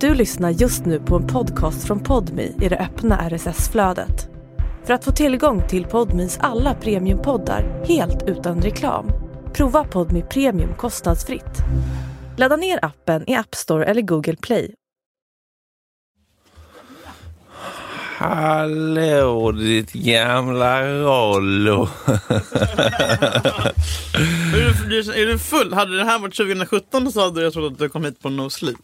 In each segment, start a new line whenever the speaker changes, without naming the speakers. Du lyssnar just nu på en podcast från Podmi i det öppna RSS-flödet. För att få tillgång till Podmis alla premiumpoddar helt utan reklam, prova Podmi Premium kostnadsfritt. Ladda ner appen i App Store eller Google Play.
Hallå ditt gamla Rollo.
Är du, är du full? Hade det här varit 2017 så hade jag trott att du kom hit på No Sleep.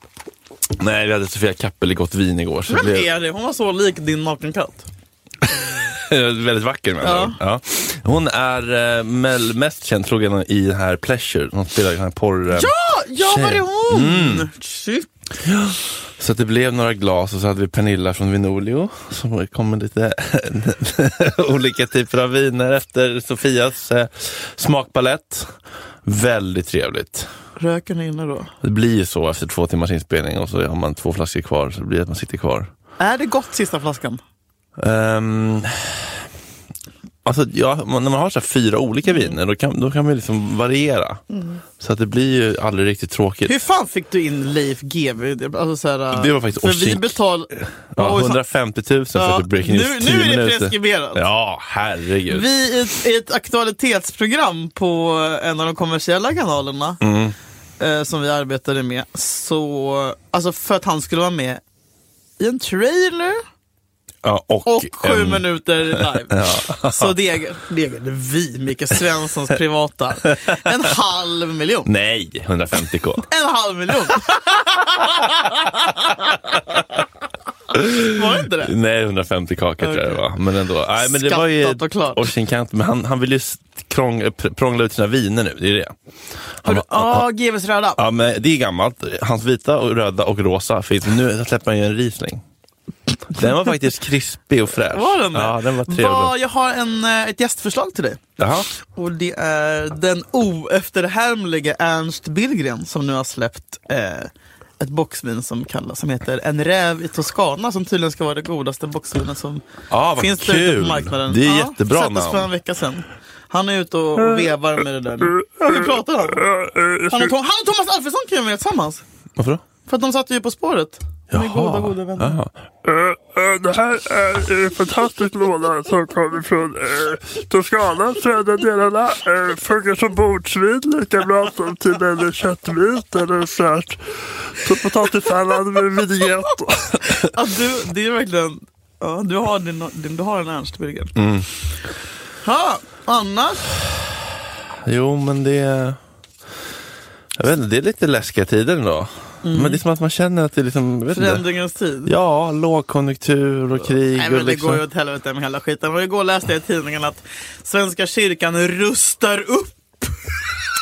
Nej, vi hade Sofia Kappel i gott vin igår. Så det
Vem
blev
är det? Hon var så lik din nakenkatt.
väldigt vacker med andra
Ja.
ord. ja. Hon är eh, mel- mest känd troligen i den här Pleasure. Hon spelar den här porr... eh,
Ja, ja var det hon?
Mm.
Shit.
Så att det blev några glas och så hade vi Pernilla från Vinolio som kom med lite olika typer av viner efter Sofias eh, smakpalett. Väldigt trevligt.
Röker ni inne då?
Det blir ju så efter två timmars inspelning och så har man två flaskor kvar så det blir att man sitter kvar.
Är det gott sista flaskan?
Ehm, alltså, ja, man, när man har så här fyra olika
Mm.
viner då kan, då kan man ju liksom variera. Så att det blir ju aldrig riktigt tråkigt.
Hur fan fick du in Leif GW? Alltså, så här,
Det var faktiskt
för vi
Ossink.
betal...
Ja,
Oj, så-
150 000 för
Ja,
att ett breaking
nu,
news 10
nu är det
minuter.
preskriberat.
Ja, herregud.
Vi i ett, i ett aktualitetsprogram på en av de kommersiella kanalerna
Mm.
eh, som vi arbetade med. Så, alltså för att han skulle vara med i en trailer
Ja, och,
och sju
en-
minuter live. Så deger, deger vi, Micke Svenssons privata, en halv miljon.
Nej, 150k.
En halv miljon! Var det inte det?
Nej, 150 kakor tror jag det var. Men ändå. Nej, men det var ju
Skattat och klart.
Orsinkant, men han, han vill ju s- krång, pr- prångla ut sina viner nu, det är det. Han,
Ja, ah, GWs röda.
ja, men det är gammalt. Hans vita, och röda och rosa finns, men nu släpper han ju en Riesling. Den var faktiskt krispig och fräsch.
Var den det?
Ja, den var trevlig.
Va, jag har en, eh, ett gästförslag till dig.
Jaha.
Och det är den oefterhärmlige Ernst Billgren som nu har släppt eh, ett boxvin som kallas, som heter En räv i Toscana som tydligen ska vara det godaste boxvinet som
Ja, vad
finns där ute
kul.
på marknaden.
Det är jättebra
Släpptes för en
namn.
vecka sedan. Han är ute och och vevar med det där. Hur pratar han? Han och, Tom- han och Thomas Alfredsson kan ju vara med tillsammans.
Varför då?
För att de satt ju På spåret. De är goda, goda vänner.
Jaha.
Eh, Det här är en fantastisk låda som kommer från eh, Toscana, södra delarna. Eh, funkar som bordsvin, lika bra som till en köttbit eller fräscht. Så potatissallad med vinägrett.
Ja, du, det är verkligen... Ja, du, har din, din, du har en Ernst Birger.
Mm.
Ha, annars?
Jo, men det... Jag vet inte, det är lite läskiga tider ändå.
Mm.
Men det är som att man känner att det är liksom... jag Vet inte.
Förändringens tid.
Ja, lågkonjunktur och krig.
Nej men
och
det
liksom...
går ju åt helvete med hela skiten. Men igår läste jag i tidningen att Svenska kyrkan rustar upp.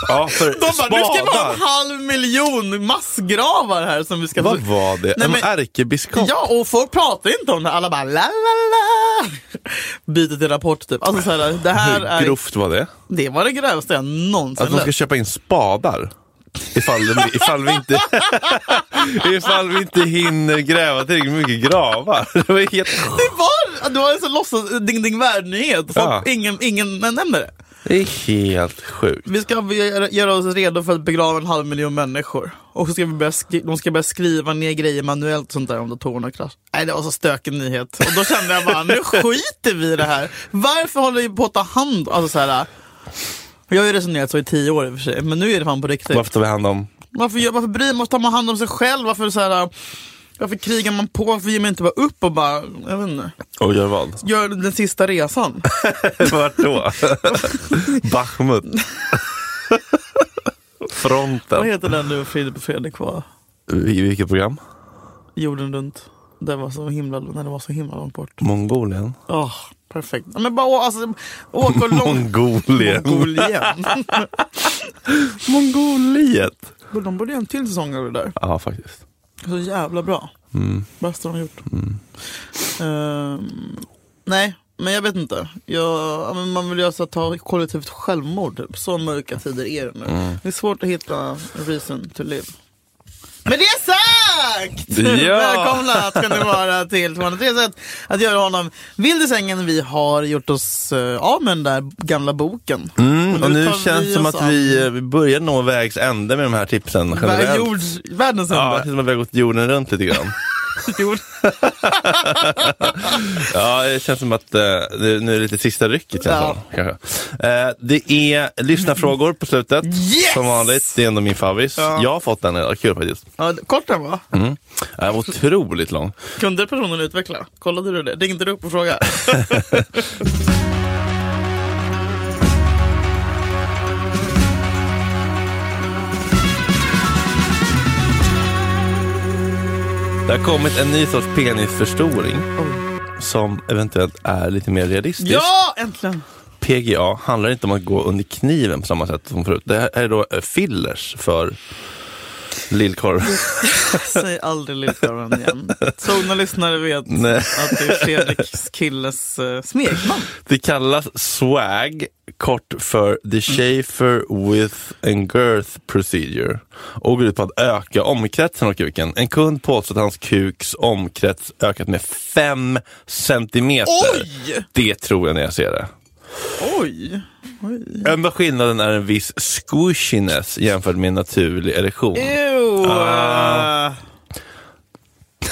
ja, för
De bara, nu ska vi ha
spadar.
en halv miljon massgravar här som vi ska...
Vad var det?
Nej,
en
men-
ärkebiskop?
Ja, och folk pratar inte om det. Alla bara la la la. Byter till rapport typ. Alltså så här, det här
Hur
är...
grovt var det?
Det var det grövsta jag någonsin
Att de ska köpa in spadar? Ifall, vi- ifall, vi inte, ifall vi inte hinner gräva tillräckligt mycket gravar. Det var helt,
Det var, det var en sån låtsas ding ding värld-nyhet. Folk-
Ja.
Ingen, ingen nämner det.
det är helt sjukt.
Vi ska göra- göra oss redo för att begrava en halv miljon människor. Och så ska vi börja skri- de ska börja skriva ner grejer manuellt och sånt där om datorerna kraschar. Nej, det var så stökig nyhet. Och då kände jag bara, nu skiter vi i det här. Varför håller vi på att ta hand Alltså så här. Jag har ju resonerat så i tio år i och för sig, men nu är det fan på riktigt.
Varför tar vi hand om...
Varför, gör- varför bryr man sig? Tar man hand om sig själv? Varför, så här, varför krigar man på? Varför ger man inte bara upp och bara, jag vet inte,
Och gör vad?
gör den sista resan?
Vart då? Bachmut.
Vad
Fronten.
heter den nu Filip och Fredrik var?
I vilket program?
Jorden runt. Det var så himla, när det var så himla långt bort.
Mongolien.
Åh, perfekt. Ja, Men bara å- alltså, åk och långt.
Mongolien.
Mongolien.
Mongoliet.
Men De borde göra en till säsong av det där.
Ja, faktiskt.
Så jävla bra.
Mm.
Bästa de har gjort. Ehm, nej, men jag vet inte. Jag, ja, men man vill ju alltså ta kollektivt självmord. Typ. Så
Mm.
mörka tider är det nu. Det är svårt att hitta a reason to live. Men det är sant! Exakt!
Ja.
Välkomna ska ni vara till 203 sätt att göra honom vild i sängen. Vi har gjort oss eh, av med den där gamla boken.
Mm, och nu
tar
känns det
vi
som
oss
att
an-
vi, eh, vi börjar nå vägs ände med de här tipsen
Vär-
generellt.
Jord, världens
Ja, det känns
enda.
som att vi har gått jorden runt lite grann.
Jord.
Ja, det känns som att eh, det, nu är det lite sista rycket. känns
Ja.
det som, kanske. Eh, det är lyssnarfrågor på slutet.
Yes!
Som vanligt. Det är ändå min favorit.
Ja.
Jag har fått den idag. Kul faktiskt.
Ja, kort den va?
Mm. Den var otroligt lång.
Kunde personen utveckla? Kollade du det? Ringde du upp och frågade?
Det har kommit en ny sorts penisförstoring.
Oj.
Som eventuellt är lite mer realistisk.
Oh. ja, äntligen!
PGA handlar inte om att gå under kniven på samma sätt som förut. Det här är då eh, fillers för lillkorv.
Säg aldrig Lillkorven igen. Trogna lyssnare vet
Nej.
att det är Fredriks killes eh, smeknamn.
Det kallas swag, kort för the Schaefer width and girth procedure och går ut på att öka omkretsen av kuken. En kund påstår att hans kuks omkrets ökat med 5 centimeter.
Oj!
Det tror jag när jag ser det.
Oj! Oj.
Enda skillnaden är en viss squishiness jämfört med en naturlig erektion.
Ew. Eh,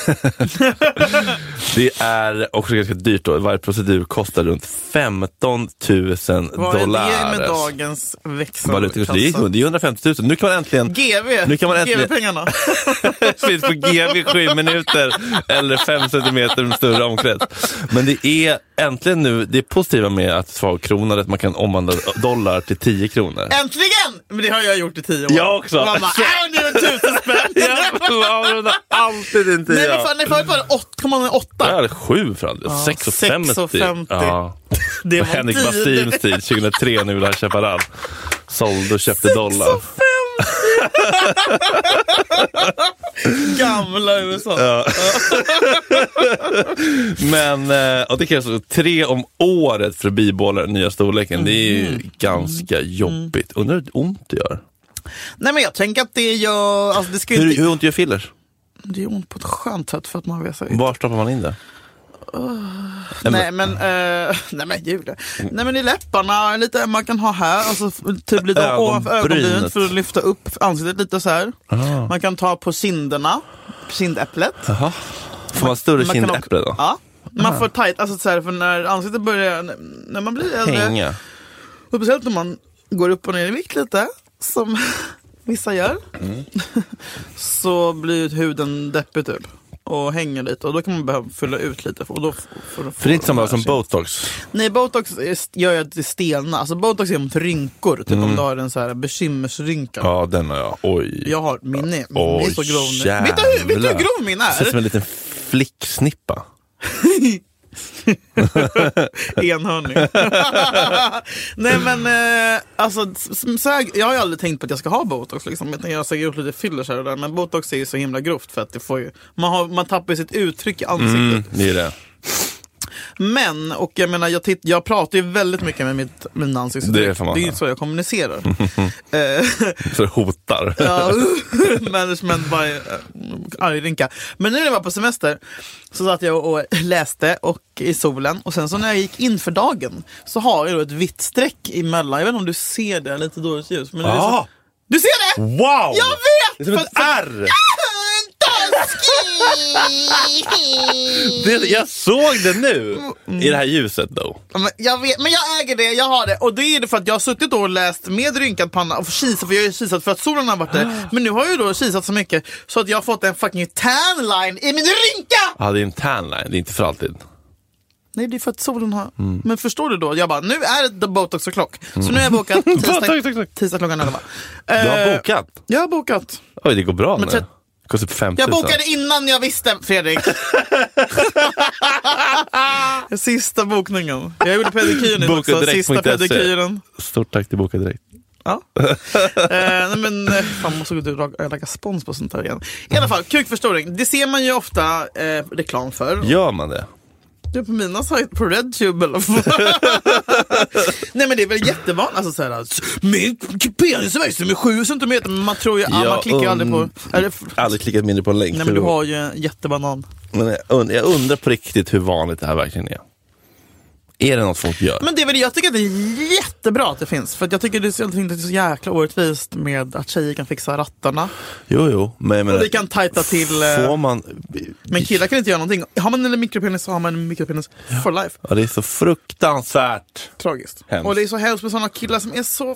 Ah. Det är också ganska dyrt då. Varje procedur kostar runt 15 000
Vad är det med Alltså.
dollar.
dagens
Valutakurs. Det är
växelkassa?
det är 150 000. Nu kan man äntligen
GV!
Nu kan man äntligen-
GV-pengarna.
finns på GV i sju minuter eller fem centimeter med större omkrets. Men det är äntligen nu det positiva med att svagkronan är att man kan omvandla dollar till 10 kronor.
Äntligen! Men det har jag gjort i tio år.
Jag också.
Man bara, "Äh, nu är det tusen spänn!
Jävlar, avrunda alltid inte
Nej, men fan, nej, förut var det 8,8.
Jag hade sju fram till sex och
6,50.
50. Ja.
Det
På
var
Henrik
tiden.
Basins tid, 2003 när vi var i Chaparral. Sålde och köpte dollar.
6,50. Gamla USA.
Men, eh, och det krävs alltså tre om året för att bibehålla den nya storleken. Det är ju
Mm.
ganska jobbigt. Undrar hur ont det gör?
Nej men jag tänker att det gör... Alltså, det, ska ju
Hur,
inte,
hur ont gör fillers?
det gör ont på ett skönt sätt för att man vet sig.
Var stoppar man in det?
Nej men, eh, nej men gud. Nej men i läpparna, lite man kan ha här, alltså f- typ lite
Ögonbrynet.
ovanför ögonbrynet för att lyfta upp ansiktet lite så här.
Ah.
Man kan ta på kinderna, kindäpplet.
Jaha. Får man större
Man kan också-
kindäpple då? Ah.
Ja. Man får tight, alltså så här, för när ansiktet börjar, när man blir äldre,
Hänga.
och speciellt om man går upp och ner i vikt lite, som vissa gör, så blir huden deppig typ. Och hänger lite och då kan man behöva fylla ut lite. Och då f- för,
För det är inte samma som
botox.
botox.
Nej, botox är- gör ju att det stelnar. Alltså botox är mot rynkor, typ om du har en så här bekymmersrynka.
Mm. Ja, den har jag. Oj.
Jag har min, min
Oj,
är så grov nu. Vet du, hur- vet du hur grov min
Ser ut som
är?
en liten flicksnippa.
Enhörning. Nej men, eh, alltså, s- s- så här, jag har ju aldrig tänkt på att jag ska ha botox. Liksom. Jag tänker, jag har säkert gjort lite fillers här och där, men botox är ju så himla grovt för att det får ju, man, har, man tappar ju sitt uttryck i ansiktet.
Mm, det är det.
Men, och jag menar, jag, titt, jag pratar ju väldigt mycket med mitt, mina ansiktsuttryck.
Det får man
det är ju
säga.
så jag kommunicerar. Eh,
Så det hotar.
Ja, management by uh, argrynka. Men nu när jag var på semester så satt jag och läste och i solen och sen så när jag gick in för dagen så har jag då ett vitt streck emellan. Jag vet inte om du ser det, lite dåligt ljus. Men det är så...
Ja,
Du ser det?
wow!
Jag vet!
Det är som ett
För- för-
R!
Taskig!
Det, jag såg det nu! I det här ljuset då.
Ja, Men jag, vet, men jag äger det, jag har det. Och det är det för att jag har suttit och läst med rynkad panna och kisat, för jag har ju kisat för att solen har varit där. Men nu har jag ju då kisat så mycket så att jag har fått en fucking tan line i min rynka!
Ja, det är en tanline. Det är inte för alltid.
Nej, det är för att solen har...
Mm.
Men förstår du då? Jag bara, nu är det the botox o'clock. Så nu har jag bokat tisdag, tisdag klockan 11.
Du har bokat?
Jag har bokat.
Oj, det går bra nu.
Men så-
Det kostar typ 5 000.
Jag bokade innan jag visste, Fredrik. sista bokningen. Jag gjorde pedikyren idag
Boka
också.
direkt
Sista
punkt E. se.
pedikyren.
Stort tack till Boka Direkt.
Ja. eh, nej men eh, fan måste du lägga, lägga spons på sånt här igen. I alla fall, kukförstoring. Det ser man ju ofta eh, reklam för.
Gör man det?
det på mina sajter, på RedTube i alla fall. Nej men det är väl jättevanligt, alltså såhär, min penis växer som är sju centimeter, men man tror ju, ja, man
Jag
klickar ju aldrig på,
und-
eller,
Aldrig klickat mindre på en länk.
nej men
för
du
det var-
har ju en jättebanan.
men jag, und- jag undrar på riktigt hur vanligt det här verkligen är. Är det något folk gör?
Men det är väl, jag tycker att det är jättebra att det finns, för att jag tycker det är så, jag tycker det är så jäkla orättvist med att tjejer kan fixa rattarna.
Jo, jo. Men jag menar,
vi kan tajta till, eh,
Äh, Får man...
Men killar kan inte göra någonting. Har man en mikropenis så har man en mikropenis for life.
Ja, det är så fruktansvärt.
Tragiskt.
Hemskt.
Och det är så hemskt med sådana killar som är så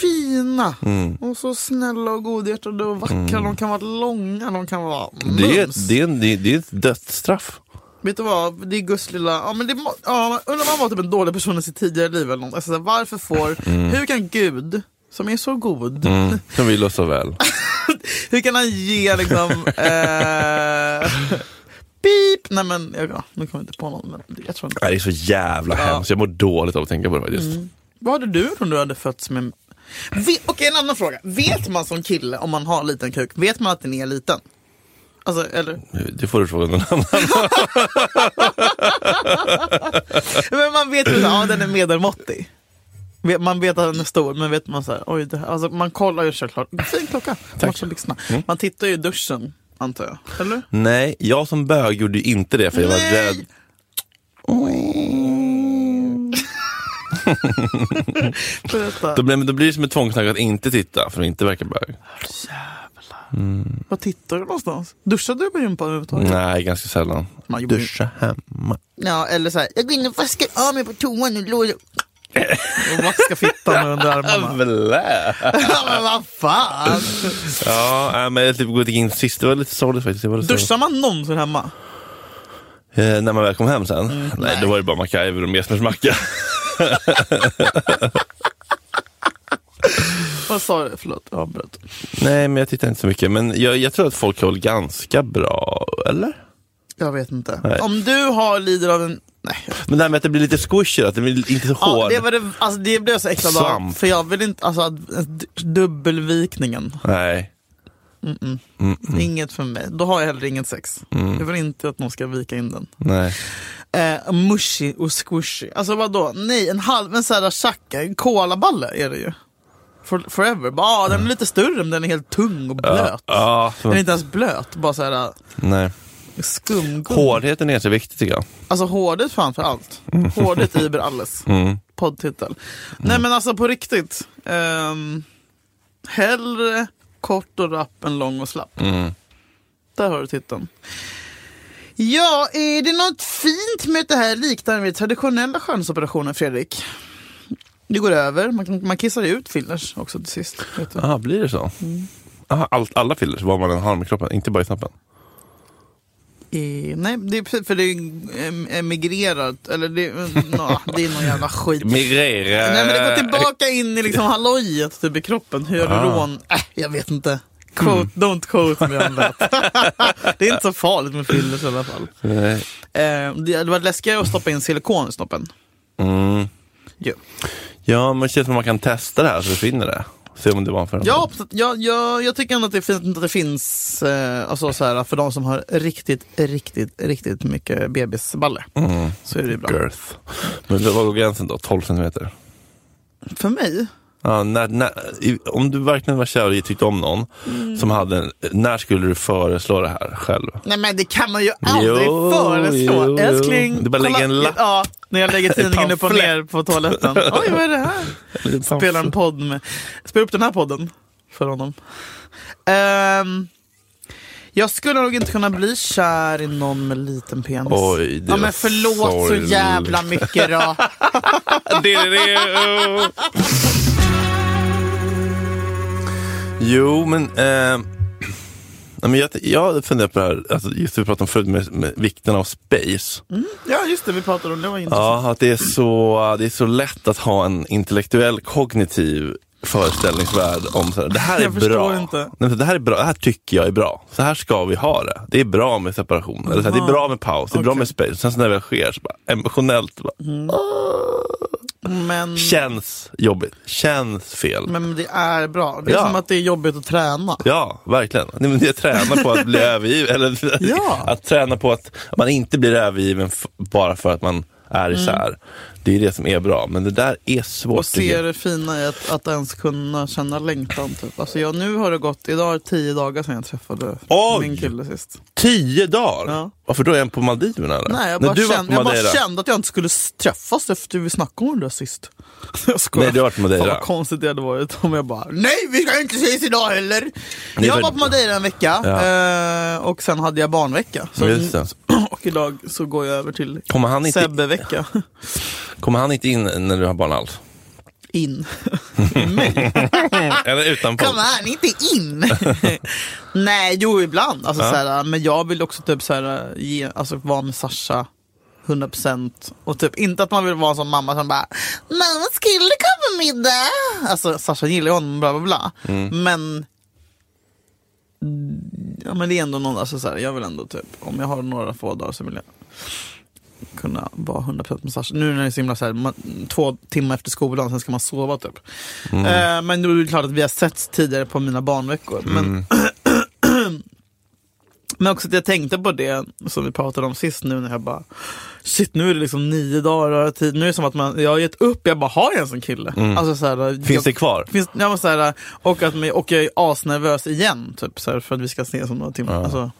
fina.
Mm.
Och så snälla och godhjärtade och vackra. De kan vara långa, de kan vara mums.
Det är, det, är en, det, är, det är ett dödsstraff.
Vet du vad, det är Guds lilla... Ja, men det, må- ja, undrar om han var typ en dålig person i sitt tidigare liv eller något. Alltså, så här, varför får... Hur kan Gud, som är så god,
Mm. Som vill oss så väl.
hur kan han ge liksom... eh, Beep! Nej men, jag- ja, nu kommer jag inte på någon. Men jag tror inte.
Nej, det är så jävla
Ja. Mm.
hemskt. Jag mår dåligt av att tänka på det faktiskt.
Vad hade du gjort om du hade fötts med... Ve- Okej, en annan fråga. Vet man som kille om man har en liten kuk, vet man att den är liten? Alltså, eller?
Det får du fråga någon annan.
Men man vet ju att ja, den är medelmåttig. Vet- Man vet att den är stor, men vet man så här, oj, det här, alltså man kollar ju såklart. Fin klocka, matchar blixtarna. Man tittar ju i duschen, antar jag. Eller?
Nej, jag som bög gjorde ju inte det för jag var
Nej.
rädd.
Berätta,
Då blir, men då blir det som ett tvångstanke att inte titta för att inte verka bög.
vad tittar du någonstans? Duschade du på gympan överhuvudtaget?
Nej, ganska sällan.
Man gjorde ju-
Duscha hemma.
Ja, eller så här, jag går in och vaskar av mig på toan och låter... Och vaskar fittan under armarna.
Blä.
Ja, men vad fan!
ja, nej, men jag typ gått in sist. Det var lite sorgligt faktiskt. Det var lite
Duschar man någonsin hemma?
sorgligt. Eh, när man väl kom hem sen?
Mm.
nej, då var det bara MacGyver och Mesmers macka.
Vad sa du? Förlåt, jag avbröt.
nej, men jag tittar inte så mycket. Men jag, jag tror att folk har hållit ganska bra, eller?
Jag vet inte.
Nej.
Om du har lider av en... Nej.
Men det här med att det blir lite squisher, att det blir inte så
Ja,
hård.
det, var det, alltså, det blev jag så äcklad av.
Svamp.
För jag vill inte... Alltså, att- d- dubbelvikningen.
Nej.
Inget för mig. Då har jag heller inget sex. Jag vill inte att någon ska vika in den.
Nej.
Eh, mushy och squishy. Alltså vadå? Nej, en halv... En sån här tjacka, en kolaballe är det ju. For, forever. Bara, ah, den är lite större men den är helt tung och blöt.
Ja,
Den är
så,
inte ens blöt, bara så här
nej.
skumgummi.
Hårdheten är jätteviktig tycker jag.
Alltså hårdet framför allt. Hårdet über alles.
Mm,
Poddtitel. Nej men alltså på riktigt. Um, hellre kort och rapp än lång och slapp.
mm.
Där har du titeln. Ja, är det något fint med att det här liknar vid traditionella skönhetsoperationer, Fredrik? Det går över. Man, man kissar ut fillers också till sist. Vet du.
Jaha, blir det så?
Mm.
Aha, allt, alla fillers, vad man än har med kroppen, inte bara i snoppen?
Eh, nej, det är precis för det är emigrerat. Eller det, nå, det är någon jävla skit.
Migrera!
Nej men det går tillbaka in i liksom hallojet typ i kroppen. Hyaluron, äh, jag vet inte. Quote, Don't quote me on that. det är inte så farligt med fillers i alla fall.
Nej.
Eh, det hade varit läskigare att stoppa in silikon i snoppen.
Mm.
Jo.
Ja, men det känns som man kan testa det här så försvinner det. Se om det var en förändring.
Ja, absolut. jag, jag, jag tycker ändå att det är fint att det finns, eh, alltså så här, för de som har riktigt, riktigt, riktigt mycket bebisballe.
Mm.
Så är det ju bra.
Girth. Men vad går gränsen då? 12 centimeter?
För mig,
Ja, när, när, i, om du verkligen var kär och tyckte om någon
Mm.
som hade en, när skulle du föreslå det här själv?
Nej men det kan man ju aldrig
Jo,
föreslå.
jo, jo.
Älskling,
Det är bara att lägga en lapp.
Ja, när jag lägger tidningen upp och ner på toaletten. Oj, vad är det här? Spelar en podd med. Spela upp den här podden för honom. Ehm, jag skulle nog inte kunna bli kär i någon med liten penis.
Oj, det
ja,
var
men förlåt
sorgligt.
så jävla mycket då.
Jo, men... Eh, nej, men jag, jag funderar på det här, alltså, just vi pratade om förut med, med vikten av space.
Ja just det, vi pratade om det. Var intressant.
Ja, att det är, så, det är så lätt att ha en intellektuell, kognitiv föreställningsvärld om så här, det här är
Jag förstår
bra.
inte.
Nej, men det här är bra, det här tycker jag är bra. Så här ska vi ha det. Det är bra med separation, eller så
Mm.
här, det är bra med paus, det är bra med space. Sen så när det väl sker, så bara, emotionellt, bara,
Men,
Känns jobbigt. Känns fel.
men det är bra. Det är
Ja.
som att det är jobbigt att träna.
Ja, verkligen. Nej, men Jag tränar på att bli övergiven. Eller,
Ja.
Att träna på att man inte blir övergiven f- bara för att man är isär. Det är det som är bra. Men det där är svårt.
Mm. Och
tycker
ser det fina i att, att ens kunna känna längtan. Typ. Alltså jag, nu har det gått, idag är det tio dagar sedan jag träffade
Oj!
min kille sist.
Tio dagar?
Ja.
Varför då? Är en på Maldiverna eller?
Nej, jag
När
bara,
du var
kände,
på
jag bara
Madeira.
kände att jag inte skulle s- träffas efter vi snackade om det där sist. Jag skojar.
Nej, du har varit på Madeira.
Fan vad konstigt det hade varit om jag bara, nej vi ska inte ses idag heller. Jag
för-
var på Madeira en vecka
Ja.
eh, och sen hade jag barnvecka. Så,
Just det.
Och idag så går jag över till
Kommer han, inte,
Sebbe-vecka.
kommer han inte in när du har barn alls?
In. I mig.
Eller utanför?
Kom här, inte in! Nej, jo ibland. Alltså,
Ja.
såhär, men jag vill också typ såhär, ge, alltså, vara med Sasha 100% och typ inte att man vill vara som mamma som bara Mamma skulle komma middag! Alltså Sasha gillar ju honom bla bla bla. Men Ja men det är ändå någon, alltså såhär, jag vill ändå typ, om jag har några få dagar så vill jag kunna vara 100% med Sasha. Nu när det är så himla såhär, man, två timmar efter skolan, sen ska man sova typ.
Mm.
Eh, men då är det klart att vi har sett tidigare på mina barnveckor.
Mm.
Men, men också att jag tänkte på det som vi pratade om sist nu när jag bara Shit nu är det liksom nio dagar och jag har tid. Nu är det som att man, jag har gett upp, jag bara har jag en sån kille? Alltså, så här,
Mm. Finns
jag,
det kvar?
Finns, jag var så här, och, att, mig- och jag är asnervös igen typ, så här, för att vi ska ses om några timmar. Alltså,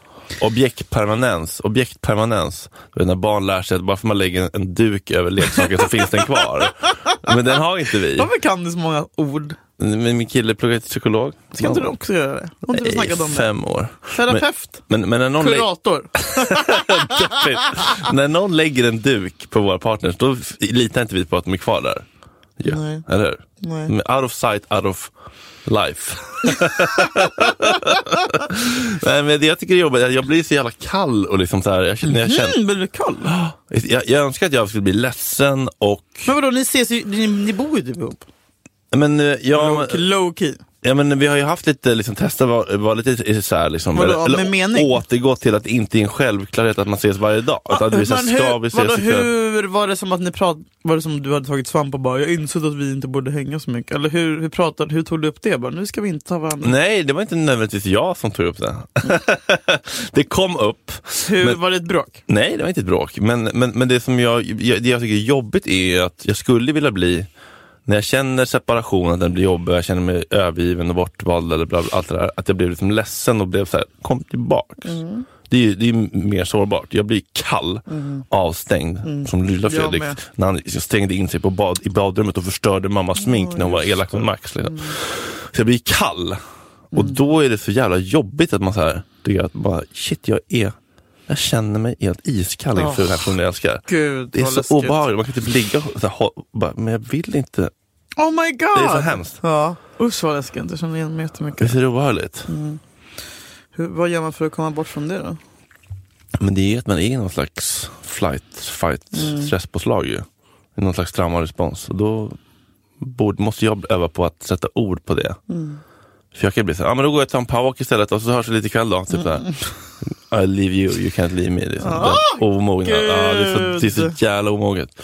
Objektpermanens. Objektpermanens. Du vet, när barn lär sig att bara för man lägger en, en duk över leksaken så finns den kvar. Men den har inte vi.
varför kan du så många ord?
Men min kille pluggar till psykolog.
Ska inte du också göra det? Har inte vi
Nej,
snackat om det?
fem år.
Terapeut,
Men, men när, någon lä-
kurator.
när någon lägger en duk på våra partners, då f- litar inte vi på att de är kvar där. Ja.
Nej.
Eller hur?
Nej.
Men Out of sight, out of life. Nej, men det jag tycker är jobbigt, är att jag blir så jävla kall och liksom så här, jag, känner- när jag, känner,
Mm, blir du kall?
jag, jag önskar att jag skulle bli ledsen och...
Men vadå, ni ses ju, ni, ni bor ju typ ihop.
Men, eh, jag,
Low- Low key.
Ja men vi har ju haft lite, liksom testa var, var lite isär liksom.
Vadå, med mening?
återgå till att det inte är en självklarhet att man ses varje dag. Utan att vi så här,
Men hur,
ska vi ses
vadå,
ikväll?
hur var det som att ni prat, var det som du hade tagit svamp och bara jag insåg att vi inte borde hänga så mycket? Eller hur, hur pratade, hur tog du upp det? Bara, nu ska vi inte ta varandra.
Nej, det var inte nödvändigtvis jag som tog upp det. det kom upp.
hur
men-
var det ett bråk?
Nej, det var inte ett bråk. Men, men, men det som jag, jag, det jag tycker är jobbigt är att jag skulle vilja bli, när jag känner separation, att den blir jobbig, jag känner mig övergiven och bortvald eller bla, bla, allt det där, att jag blev liksom ledsen och blev så här, kom tillbaks. Det är ju det är ju mer sårbart. Jag blir kall, avstängd, som Lilla
Jag
Fredrik
med.
när han stängde in sig på bad, i badrummet och förstörde mammas smink när hon var elak mot Max. Liksom. Så jag blir kall. Och då är det så jävla jobbigt att man så här, tycker att bara, shit, jag är jag känner mig helt iskall inför
Åh,
den här personen jag älskar.
Gud
Det är
vad
så
läskigt.
obehagligt. Man kan typ ligga och så här, ha- bara, men jag vill inte.
Oh my god!
Det är så hemskt.
Ja. Usch vad läskigt, jag känner igen mig
Visst
jättemycket.
är det obehagligt?
Hur, vad gör man för att komma bort från det då?
Men det är att man är i någon slags flight, fight, stresspåslag ju. I Någon slags traumarespons. Och då borde, måste jag öva på att sätta ord på det. För jag kan bli så här, ah, men då går jag och tar en powerwalk istället och så hörs vi lite ikväll då. Typ där. I leave you, you can't leave me. Liksom. Den omogna. Ja, det, är så, det är så
Ah, gud.
jävla omoget.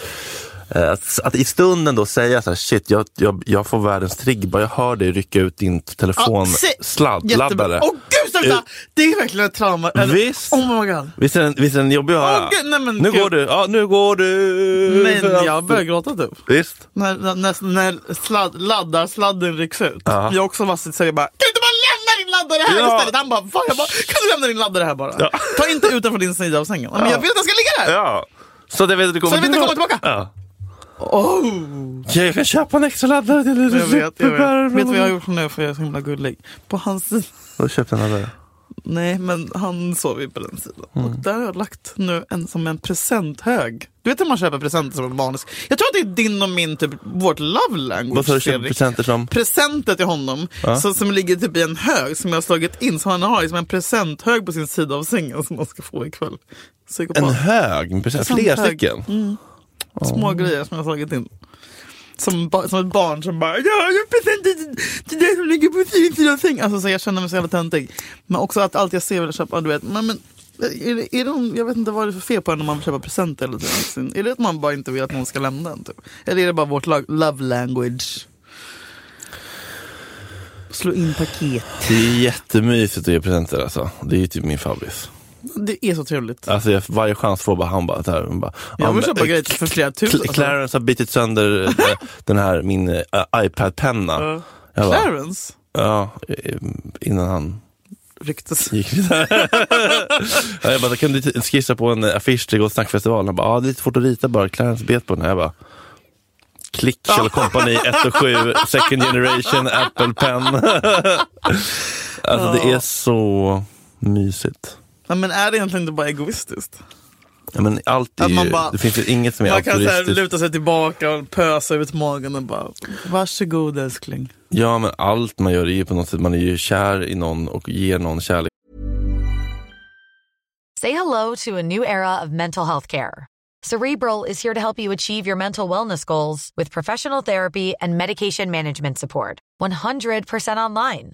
Eh, Att, att i stunden då säga så här, shit, jag, jag, jag får världens trigg bara jag hör dig rycka ut din
Ah, se-
telefonsladdladdare.
Åh gud sluta! Det är verkligen ett trauma. Eller-
Eh. Visst.
Oh my god.
Visst är den, visst är den jobbig att höra?
Åh, gud, nej, men
nu
gud.
går du, ja nu går du.
Men jag börjar gråta typ.
Visst?
När, när- när, när sladd, laddar sladden rycks ut.
Ja.
Jag också var så jag bara Kan du inte bara lämna din laddare här
Ja.
istället? Han bara, Fan, jag bara Kan du lämna din laddare här bara?
Ja.
Ta inte ut den från din sida av sängen. Men jag vill att den ska ligga där!
Ja. Så att jag vet att du kommer
Så jag vet att du kommer tillbaka.
Ja.
Oh,
Ja, jag kan köpa en extra laddare till dig.
jag vet, jag vet. Vet du vad jag har gjort nu för jag är så himla gullig? På hans sida.
Då köpte jag en laddare.
Nej, men han sov ju på den sidan.
Mm.
Och där har jag lagt nu en som en presenthög. Du vet när man köper presenter som en vanlig... Jag tror att det är din och min, typ, vårt love language,
Vad sa du köpte
Fredrik.
presenter som?
presenter till honom så, som ligger typ i en hög som jag har slagit in. Så han har liksom en presenthög på sin sida av sängen som han ska få ikväll.
En
Psykopat.
hög med presenter?
Sån
Flera
hög. Mm.
stycken?
Små grejer som jag har slagit in. Som, ba- som ett barn som bara Jag har en present till- till dig som ligger på din sida av sängen. Alltså så jag känner mig så jävla töntig. Men också att allt jag ser vill jag köpa. Du vet, men, men Är det, är det, någon- jag vet inte vad det är för fel på en när man vill köpa presenter eller någonsin. Är det att man bara inte vill att någon ska lämna en? Typ? Eller är det bara vårt lag- love language? Slå in paket.
Det är jättemysigt att ge presenter alltså. Det är ju typ min favorit.
Det är så trevligt.
Alltså jag, varje chans får bara han bara, det här, bara
Jag
"Ja,
vill
men,
köpa alltså."
eh,
grejer för flera tusen.
Cl- Clarence har bitit sönder eh, den här, min eh, iPad-penna.
Ja.
Jag bara,
Alltså, Clarence?
ja, eh, innan han
Ryktes.
gick vidare. Ja, jag bara, kan du t- skissa på en eh, affisch till Gott snackfestivalen? Han bara, ja det är lite svårt att rita bara, Clarence bet på den. här." Jag bara, Klick Kjell Company 1 och 7, second generation Apple Pen. alltså det är så mysigt.
Ja, men är det egentligen inte bara egoistiskt?
Ja, men allt är
Att man
ju,
bara-
det finns ju inget som är
Man kan så här,
altruistiskt.
luta sig tillbaka och pösa ut magen och bara varsågod älskling.
Ja, men allt man gör är ju på något sätt, man är ju kär i någon och ger någon kärlek.
Say hello to a new era of mental health care. Cerebral is here to help you achieve your mental wellness goals with professional therapy and medication management support. 100% online.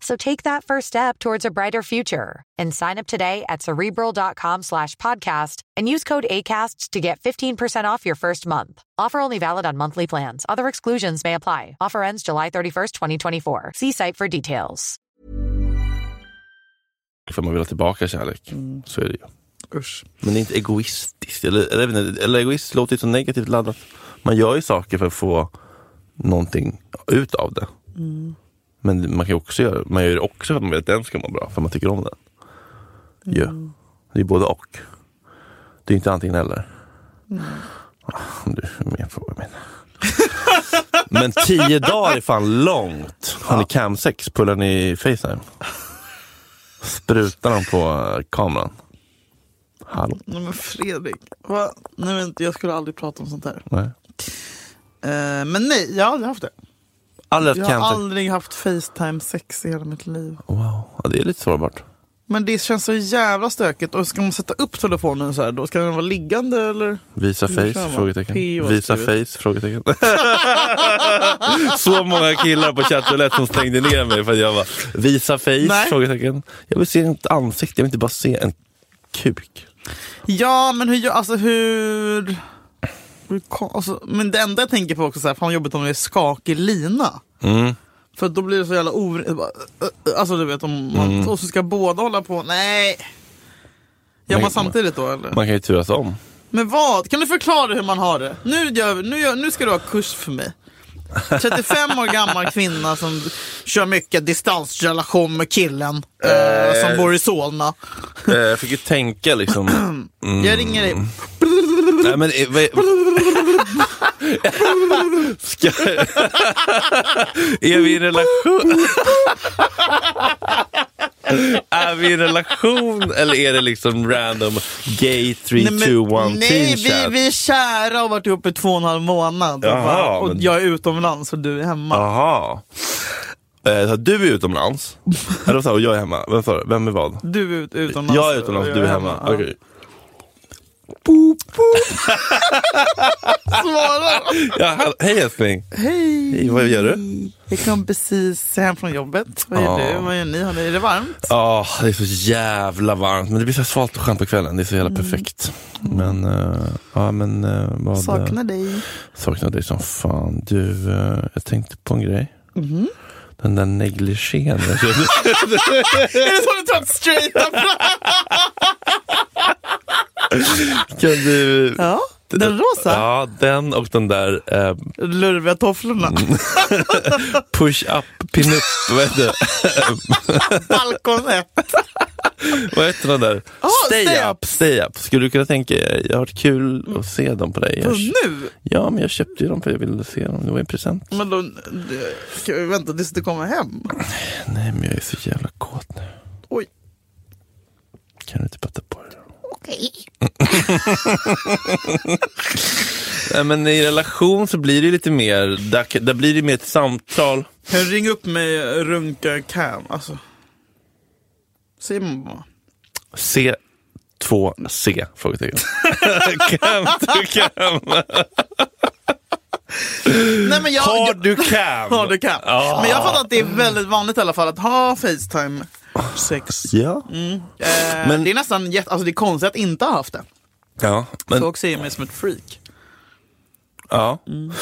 So take that first step towards a brighter future and sign up today at cerebral.com slash podcast and use code ACAST to get 15% off your first month. Offer only valid on monthly plans. Other exclusions may apply. Offer ends July 31st, 2024. See site for details.
För man vill ha tillbaka kärlek.
Mm.
Så är det ju.
Usch.
Men det är inte egoistiskt. Eller, eller, jag vet inte, eller egoist låter ju så negativt laddat. Man gör ju saker för att få någonting ut av det. Men man kan ju också göra man gör det också för att man vill att den ska må bra, för man tycker om den. Ju. Det är både och. Det är inte antingen eller. Om Du är med på vad jag menar. Men tio dagar är fan långt. Har ni cam 6? Pullar ni Facetime? Sprutar de på eh, kameran? Hallå?
Nej men Fredrik. Va? Nej, men, jag skulle aldrig prata om sånt här.
Nej.
Eh, men nej, jag har aldrig haft det.
Aldrig
Jag
haft
har
cam
aldrig haft Facetime sex i hela mitt liv.
Wow, ja, det är lite sårbart.
Men det känns så jävla stökigt. Och ska man sätta upp telefonen så här då? Ska den vara liggande eller?
Visa
Hur kör
face?
man?
Frågetecken.
PO har
Visa
skrivit.
face? Frågetecken. Så många killar på Chatterlett som stängde ner mig för att jag bara, visa face?
Nej.
Frågetecken. Jag vill se ett ansikte, jag vill inte bara se en kuk.
Ja, men hur... gör- Alltså hur... hur ko- alltså, men det enda jag tänker på också så här, fan vad jobbigt om det är skakig lina.
Mm.
För då blir det så jävla eh, orimligt. Alltså du vet om man...
Mm.
Och så ska båda hålla på. Nej! Gör
Man-
man samtidigt då eller?
Man kan ju turas om.
Men vad? Kan du förklara hur man har det? Nu, gör, vi- nu, gör, nu ska du ha kurs för mig. 35 år gammal kvinna som kör mycket distansrelation med killen eh, som bor i Solna.
Eh, Jag fick ju tänka liksom.
Jag ringer dig.
Nej, men, eh, vad- Ska... är vi i en relation? är vi i en relation eller är det liksom random gay 3, 2, 1
Nej, men, nej
teen
vi,
chat?
vi är kära och har varit ihop i två och en halv månad.
Jaha,
och
men-
jag är utomlands och du är hemma.
Jaha. Eh, så du är utomlands Eller så här, och jag är hemma. Vem, sa du? Vem är vad?
Du är alltså, ut, utomlands.
jag är utomlands
och
du är hemma.
Ja.
Okej.
Svara!
Ja, hall- hej älskling.
Hej!
Vad gör du?
Jag kom precis hem från jobbet. Vad gör
Ja.
du? Vad gör ni? Har ni- Är det varmt?
Ja, det är så jävla varmt. Men det blir så här svalt och skönt på kvällen. Det är så jävla
Mm.
perfekt. Men, eh, ja men eh, vad...
Saknar dig.
Saknar dig som fan. Du, eh, jag tänkte på en grej.
Mhm.
Den där negligén. jag köpte.
Är det så du tar ett straight up
kan du...
Ja, den rosa.
Ja, den och den där eh,
Lurviga tofflorna.
push-up, pin-up. vad heter
Balkon ett.
Vad heter den där? stay,
stay Mm.
up, stay up. Skulle du kunna tänka jag har varit kul att se dem på dig. Jag,
Och nu?
ja, men jag köpte ju dem för jag ville se dem. Det var en present.
Men då, det- ska vi vänta tills du kommer hem?
Nej, men jag är så jävla kåt nu.
Oj.
Kan du inte bara ta på dig dem?
Okay.
Nej, men i relation så blir det ju lite mer, där, där blir det mer ett samtal.
Kan du ringa upp mig runka cam? Alltså. Säger man bara.
C2C? Frågetecken. Cam to cam.
Nej, men jag,
Har
jag-
du cam?
Har du cam?
Ah.
Men jag fattar att det är väldigt vanligt i alla fall att ha Facetime sex.
Ja.
Eh,
Men-
Det är nästan jätte, alltså det är konstigt att inte ha haft det.
Ja, men,
Folk ser mig som ett freak.
ja.
Mm.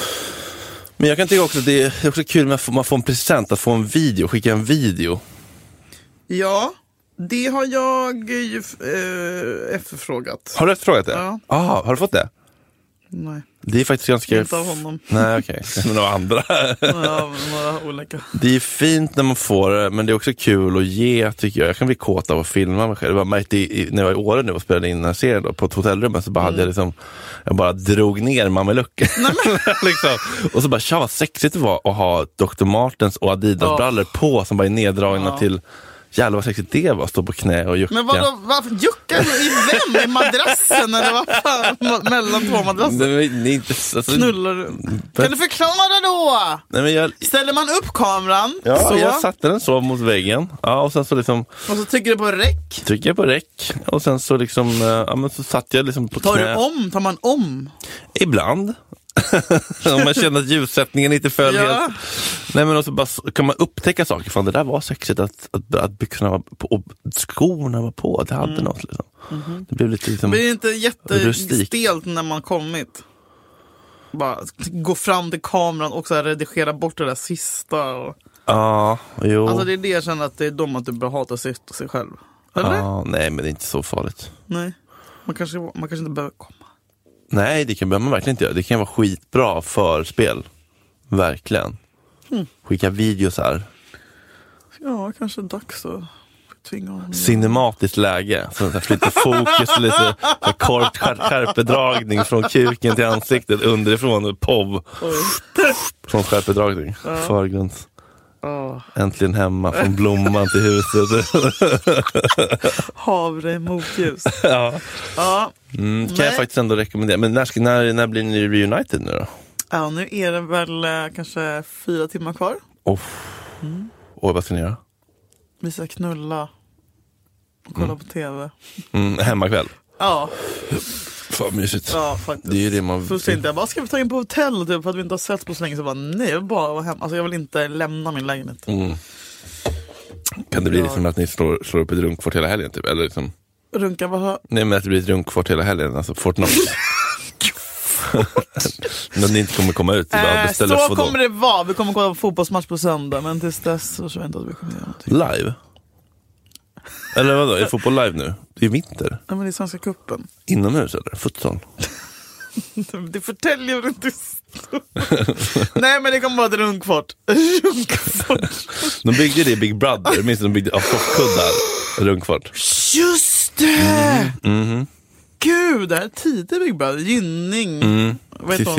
men jag kan tycka också att det är, det är också kul med att få- man får en present, att få en video, skicka en video.
Ja, det har jag ju eh, efterfrågat.
Har du efterfrågat det?
Ja.
Ah, har du fått det?
Nej,
Det är faktiskt ganska...
inte av honom.
Nej, okej. Men av andra.
Men Av några olika.
Det är fint när man får det, men det är också kul att ge tycker jag. Jag kan bli kåt av att filma mig själv. Jag bara märkte i, i, när jag var i Åre nu och spelade in den här serien då, på ett hotellrum så bara hade
Mm.
jag liksom, jag bara drog ner mamelucken. liksom. Och så bara, tja vad sexigt det var att ha Dr. Martens och
Ja.
Adidas-brallor på som bara är neddragna
Ja.
till, jävlar vad sexigt det var att stå på knä och jucka.
Men vadå, varför juckar du i vem? I madrassen eller vad fan? Ma- Mellan två madrasser?
Nej, men, det är inte, alltså,
Knullar du? Kan du förklara då?
nej, men jag,
Ställer man upp kameran
ja,
så,
jag satte den så mot väggen ja, och sen så liksom
och så trycker du på räck.
tryckte jag på räck och sen så liksom, eh, ja men så satt jag liksom på
Tar
knä.
du om? Tar man om?
Ibland. Om man känner att ljussättningen inte föll
Ja.
helt. Nej, men och så bara, s- kan man upptäcka saker. Fan, det där var sexigt att, att, att byxorna var på och skorna var på. Det
Mm.
hade något. Liksom.
Mhm.
Det blev lite liksom...
Blir det inte
Rustik.
jättestelt när man kommit? Bara gå fram till kameran och så här redigera bort det där sista. Och...
Ja, jo.
Alltså det är det jag känner att det är de att du börjar hata sig, sig själv. Eller?
ja, nej, men det är inte så farligt.
Nej. Man kanske, man kanske inte behöver komma.
Nej, det kan behöver man verkligen inte göra. Det kan vara skitbra förspel. Verkligen.
Mm.
Skicka videos här.
Ja, kanske dags att tvinga honom.
cinematiskt läge. Så att jag flyttar fokus lite, så här kort skär- skärpedragning från kuken till ansiktet underifrån. POV. Från skärpedragning. Förgrunds.
Ja.
Äntligen hemma, från blomman till huset.
Havre motljus.
ja.
ja.
mm, kan jag
Nej.
faktiskt ändå rekommendera. Men när, ska- när, när blir ni reunited nu då?
ja, nu är det väl eh, kanske fyra timmar kvar.
Oh. Oj, vad ska ni göra?
Vi ska knulla och kolla på TV.
Mm, hemmakväll.
Ja,
Fan mysigt.
ja faktiskt.
Det är ju det man
Först tänkte jag bara, ska vi ta in på hotell typ, för att vi inte har sett på så länge? Så bara, nej, jag vill bara vara hemma. Alltså jag vill inte lämna min lägenhet.
Mm. Kan det bli liksom att ni slår, slår upp ett runkfort hela helgen? Typ? Eller liksom...
Runka, vad hör...
Nej men att det blir ett runkfort hela helgen, alltså Fortnite. Men det inte kommer komma ut. det är bara att
Eh, så
beställa Fodor.
kommer det vara. Vi kommer kolla på fotbollsmatch på söndag, men tills dess så tror jag inte att vi kommer göra någonting.
Live? Eller vadå, är fotboll live nu? Det är vinter.
Nej, men det är Svenska cupen.
Inomhus eller? Futsal?
Det förtäljer väl inte så- Nej, men det kommer vara ett runkfort. Runkfort.
De byggde det i Big Brother, minns du? De byggde av soffkuddar, runkfart.
Just det!
Mm-hmm.
Gud, det här är tidig Big Brother. Gynning. Vad heter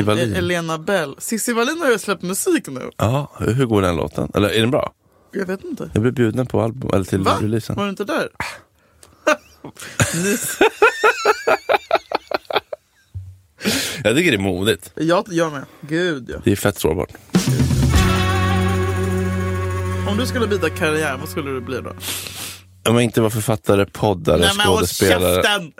Mm. Cissi
hon? E-,
Wallin.
Elena Bell. Cissi Wallin har ju släppt musik nu.
Ja, hur hur går den låten? Eller är den bra?
Jag vet inte.
Jag blev bjuden på album, eller till
Va?
releasen.
Var du inte där? Nys.
Jag tycker det är modigt.
Jag, jag med. Gud ja.
Det är fett sårbart.
Om du skulle byta karriär, vad skulle du bli då?
Om jag inte var författare, poddare, skådespelare.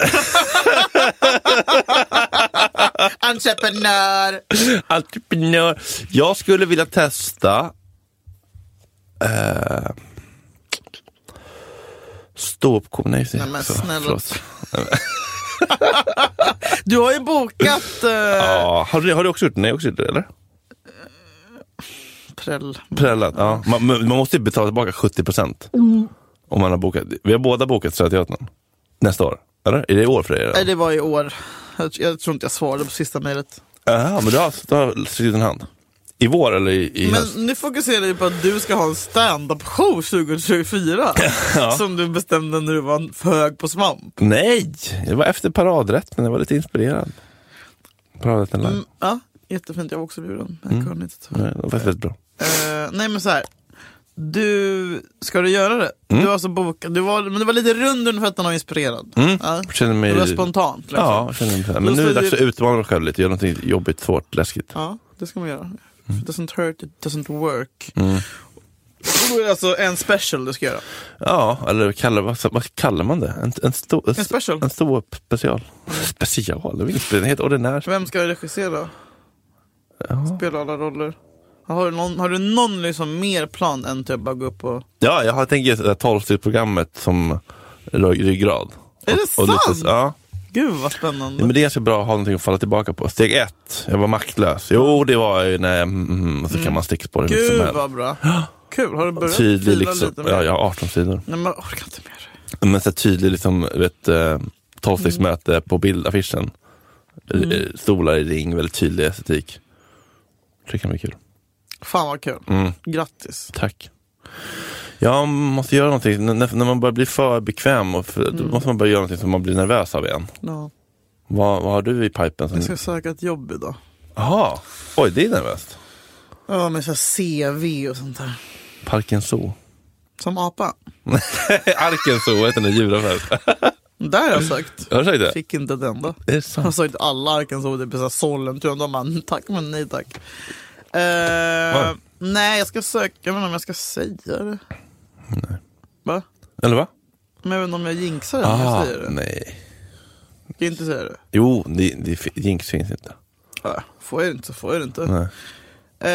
Entreprenör!
Entreprenör. Jag skulle vilja testa eh, ståuppkomedi. Nej,
Nej, men
Så,
snälla.
förlåt.
Du har ju bokat eh,
Ja, har, du, har du också gjort det? Nej, jag har också gjort det, eller?
Prell.
Prällat. Ja. Man, man man måste ju betala tillbaka 70 procent.
Mm.
Om man har bokat. Vi har båda bokat Södra Teatern. Nästa år. Eller? Är det i år för dig?
Nej,
redan?
det var i år. Jag, jag tror inte jag svarade på sista mejlet.
Jaha, men du har, du har skrivit en hand. I vår eller i, i höst?
Men nu fokuserar vi på att du ska ha en stand-up show 2024. Som du bestämde när du var för hög på svamp.
Nej! Det var efter paradrätt, men jag var lite inspirerad. Paradrätten live.
Mm,
Mm.
ja, jättefint, jag var också bjuden. men Jag kunde inte ta.
Nej, det var väldigt bra.
Eh, nej men så här. Du, ska du göra det? Du var alltså bokad, du var, men du var lite rund under fötterna och inspirerad.
Mm.
Ja.
Jag känner mig...
Det var spontant. Liksom.
Ja, jag känner mig så här.
Då
Men nu är det
står
dags
det-
att utmana mig själv lite. Göra något jobbigt, svårt, läskigt.
Ja, det ska man göra. If it doesn't hurt, it doesn't work.
Mm.
Och då är det alltså en special du ska göra.
Ja, eller kallar, vad, vad kallar man det? En, en, stå,
En special. Mm.
En stå upp special. Special? Det är inget special. Helt ordinär.
Vem ska regissera?
Ja.
Spela alla roller? Har du någon, har du någon liksom mer plan än att jag bara gå upp och...
ja, jag har tänkt just det där tolvstegsprogrammet som rör ryggrad.
Är det
Och lite-
sant?
ja.
Gud vad
Ja,
spännande.
men det är ganska bra att ha någonting att falla tillbaka på. Steg ett, jag var maktlös. Jo, det var jag ju när jag... Mm, mm, och så kan man sticka på det mycket som
Gud
helst.
vad bra. Kul, har du börjat
Tydlig
fila
liksom.
lite mer?
Ja, jag har 18 sidor.
Nej men jag orkar inte mer.
Men så här tydlig liksom, du vet, eh, tolvstegsmöte på bildaffischen. Mm. Stolar i ring, väldigt tydlig estetik. Det kan bli kul.
Fan vad kul.
Mm.
Grattis.
Tack. Jag måste göra någonting, N- när, när man börjar bli för bekväm, och för, då måste man börja göra någonting som man blir nervös av igen.
Ja.
Vad, vad har du i pipen?
Jag ska
som-
söka ett jobb idag.
Jaha, oj det är nervöst.
Ja med så här CV och sånt där.
Parken Zoo.
Som apa.
Arken Zoo heter den där djuraffären.
Där har jag sökt.
Har du sagt det?
Fick inte ett enda.
Är det
Jag har
sant?
sökt alla arken så typ såhär Sollentuna. De bara tack men nej tack. Eh, nej jag ska söka, jag vet inte om jag ska säga det. Va?
Eller va?
Men jag vet inte om jag jinxar det om jag säger det.
Ah, nej.
Ska jag inte säga det?
Jo, det, det fi- jinx finns inte.
Ja, Får jag det inte så får jag det inte.
Nej.
Eh,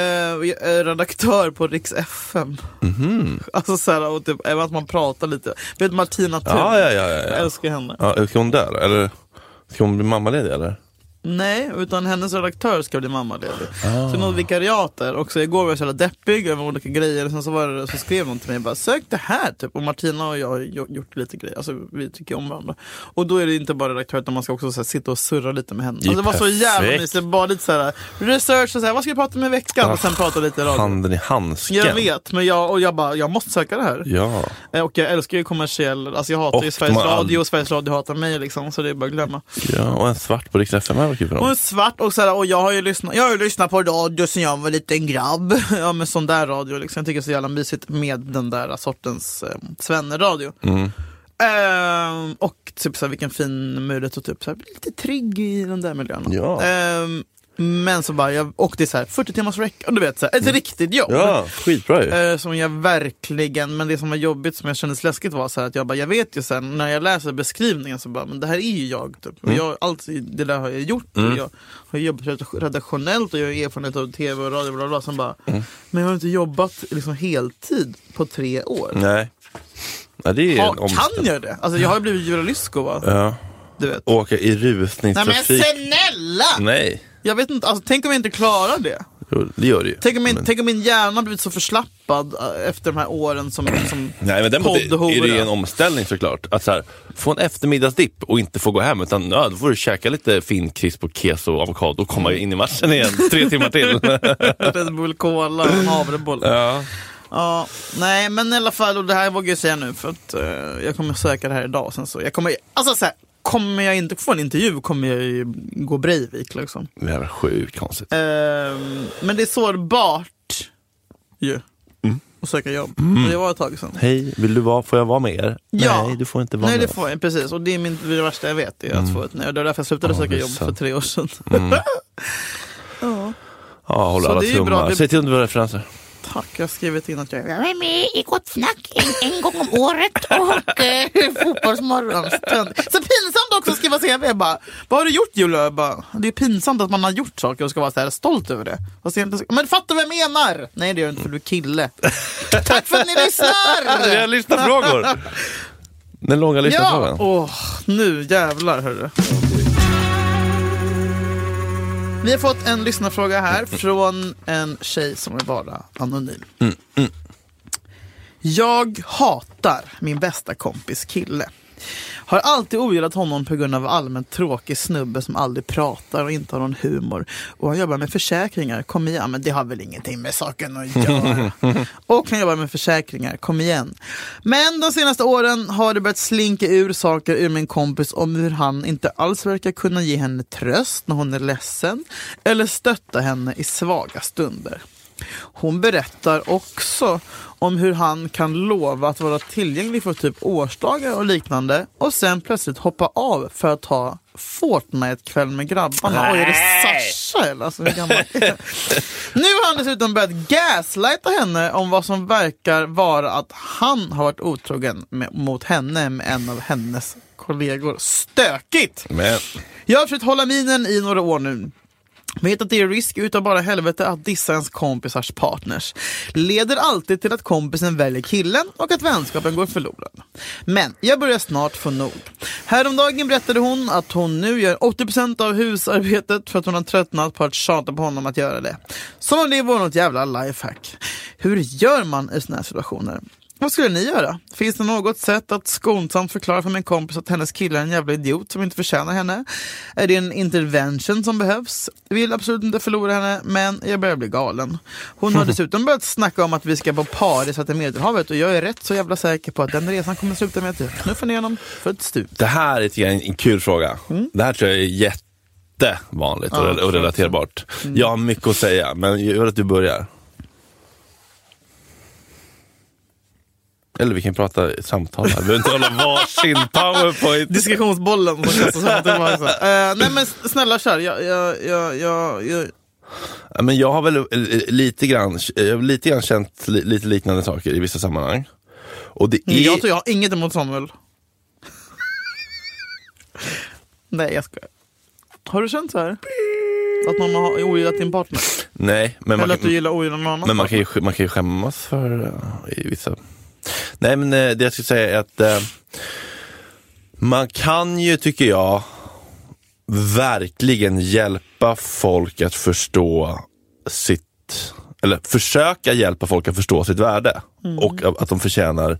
jag är redaktör på Riks FM.
Mhm.
Alltså såhär, och typ, även att man pratar lite. Vet du Martina Thun?
Ja, ja, ja. ja,
Jag
ja.
älskar henne.
ja ska hon där eller? Ska hon bli mammaledig eller?
Nej, utan hennes redaktör ska bli mammaledig.
Ah.
Så något vikariat där. Och så igår var jag så jävla deppig över olika grejer. Sen så, var det, så skrev någon till mig bara sök det här typ. Och Martina och jag har gjo- gjort lite grejer. Alltså vi tycker om varandra. Och då är det inte bara redaktör utan man ska också så här, sitta och surra lite med henne.
Det är
Alltså, det var så jävla
perfekt.
mysigt. Bara lite så här research och så här, vad ska vi prata om i veckan? Och
Ah,
sen prata lite i radio.
Handen i handsken.
Jag vet, men jag, och jag bara, jag måste söka det här.
Ja.
Eh, Och jag älskar ju kommersiell, alltså jag hatar ju
Och
Sveriges
man-
Radio och Sveriges Radio hatar mig liksom, så det är bara att glömma.
ja, och en svart på Rix FM här var kul för
Hon är
dem.
svart och, såhär, och jag har ju lyssnat, jag har ju lyssnat på radio sen jag var liten grabb. Ja men sån där radio liksom. Jag tycker det är så jävla mysigt med den där sortens eh, svenneradio.
Mm.
Ehm, och typ såhär, vilken fin möjlighet att typ, såhär, bli lite trygg i den där miljön.
Ja.
Ehm, men så bara, jag, och det är såhär 40 timmars vecka, och du vet såhär, ett riktigt jobb.
Mm. Ja, skitbra ju.
Eh, Som jag verkligen, men det som var jobbigt som jag kändes läskigt var så här att jag bara, jag vet ju sen när jag läser beskrivningen så bara, men det här är ju jag. Typ.
Mm.
Och jag allt det där har jag gjort. Och Jag har jobbat redakt- redaktionellt och jag har erfarenhet av tv och radio och bla bla, bla. Som bara,
Mm.
Men jag har inte jobbat liksom heltid på tre år.
Nej. Ja, det är ju
Ha,
en omställning.
kan jag det? Alltså jag har ju blivit Jura Lysko va?
Ja.
Du vet.
Åka i
Nej men
rusningstrafik.
snälla!
Nej.
Jag vet inte, alltså, tänk om jag inte klarar det?
Jo, det gör det ju.
Tänk om, min,
Men-
tänk om min hjärna blivit så förslappad eh, efter de här åren som, som
Nej men däremot är det
poddhora.
ju en omställning såklart. Att så här, få en eftermiddagsdipp och inte få gå hem utan ja, då får du käka lite fin crisp och keso och avokado och komma in i matchen igen tre timmar till.
Red Bull Cola och en havreboll. Ja.
ja.
nej men i alla fall, och det här vågar jag säga nu för att eh, jag kommer söka det här idag. Sen så, jag kommer, alltså så här, kommer jag inte få en intervju kommer jag ju gå Breivik liksom.
Det här var sjukt konstigt.
Ehm, men det är sårbart ju. Att söka jobb. Och Det var ett tag sedan.
Mm. Hej, vill du vara, får jag vara med er?
Ja.
Nej, du får inte vara
Nej
med
det får jag precis och det är min, det värsta jag vet är att få ett nej. Och det var därför jag slutade
Mm. Ja,
söka
det är
jobb för
sant. Mm.
tre år sedan. ja,
oss. Ja, håll
Så
alla
det är ju
tummar.
bra, det-
Säg till om du har referenser.
tack, jag har skrivit in att jag är
Jag är med i Gott Snack en, en gång om året och eh, Fotbollsmorgon.
Tönt. Så pinsamt också att skriva CV. Jag bara, vad har du gjort Julia? Jag bara, det är pinsamt att man har gjort saker och ska vara så här stolt över det. Fast jag inte- Men fattar vad jag menar? Nej det gör du inte för du är kille. Tack för att ni
Vi har
lyssnar!
lyssnarfrågor. Den långa
Ja,
lyssnarfrågan.
åh, nu jävlar hörru. Vi har fått en lyssnarfråga här från en tjej som är bara anonym. Jag hatar min bästa kompis kille. Har alltid ogillat honom på grund av allmänt tråkig snubbe som aldrig pratar och inte har någon humor. Och han jobbar med försäkringar. Kom igen, men det har väl ingenting med saken att göra. och han jobbar med försäkringar. Kom igen. Men de senaste åren har det börjat slinka ur saker ur min kompis om hur han inte alls verkar kunna ge henne tröst när hon är ledsen eller stötta henne i svaga stunder. Hon berättar också om hur han kan lova att vara tillgänglig för typ årsdagar och liknande och sen plötsligt hoppa av för att ha Fortnite-kväll med grabbarna. Oj, är det Sasha eller? Alltså, hur gammal är Nu har han dessutom börjat gaslighta henne om vad som verkar vara att han har varit otrogen med, mot henne med en av hennes kollegor. Stökigt!
Men
Jag har försökt hålla minen i några år nu. Vet att det är risk utav bara helvete att dissa ens kompisars partners. Leder alltid till att kompisen väljer killen och att vänskapen går förlorad. Men jag börjar snart få nog. Häromdagen berättade hon att hon nu gör 80% av husarbetet för att hon har tröttnat på att tjata på honom att göra det. Som om det vore något jävla lifehack. Hur gör man i sådana här situationer? Vad skulle ni göra? Finns det något sätt att skonsamt förklara för min kompis att hennes kille är en jävla idiot som inte förtjänar henne? Är det en intervention som behövs? Vill absolut inte förlora henne, men jag börjar bli galen. Hon har dessutom börjat snacka om att vi ska på Paris att i Medelhavet och jag är rätt så jävla säker på att den resan kommer sluta med att jag knuffar ner honom för ett stup.
det här är lite grann en kul fråga.
Mm.
Det här tror jag är jättevanligt och, re- och relaterbart.
mm.
Jag har mycket att säga, men jag vill att du börjar. Eller vi kan prata i samtal här. Vi behöver inte hålla varsin powerpoint.
Diskussionsbollen som kastas fram och tillbaka. Eh, nej men snälla kör, jag, jag, jag, jag, jag
Ja, Men jag har väl eh, lite grann, jag har lite grann känt li, lite liknande saker i vissa sammanhang. Och det är...
Mm, Jag tror jag har inget emot Samuel. Nej, jag skojar. Har du känt så här? Att man har ogillat din partner?
Nej, men man,
Eller att du
kan,
gillar ogillar någon annan?
men man kan ju, sk- man kan ju skämmas för eh, i vissa... Nej, men eh, det jag skulle säga är att eh, man kan ju, tycker jag, verkligen hjälpa folk att förstå sitt, eller försöka hjälpa folk att förstå sitt värde och a- att de förtjänar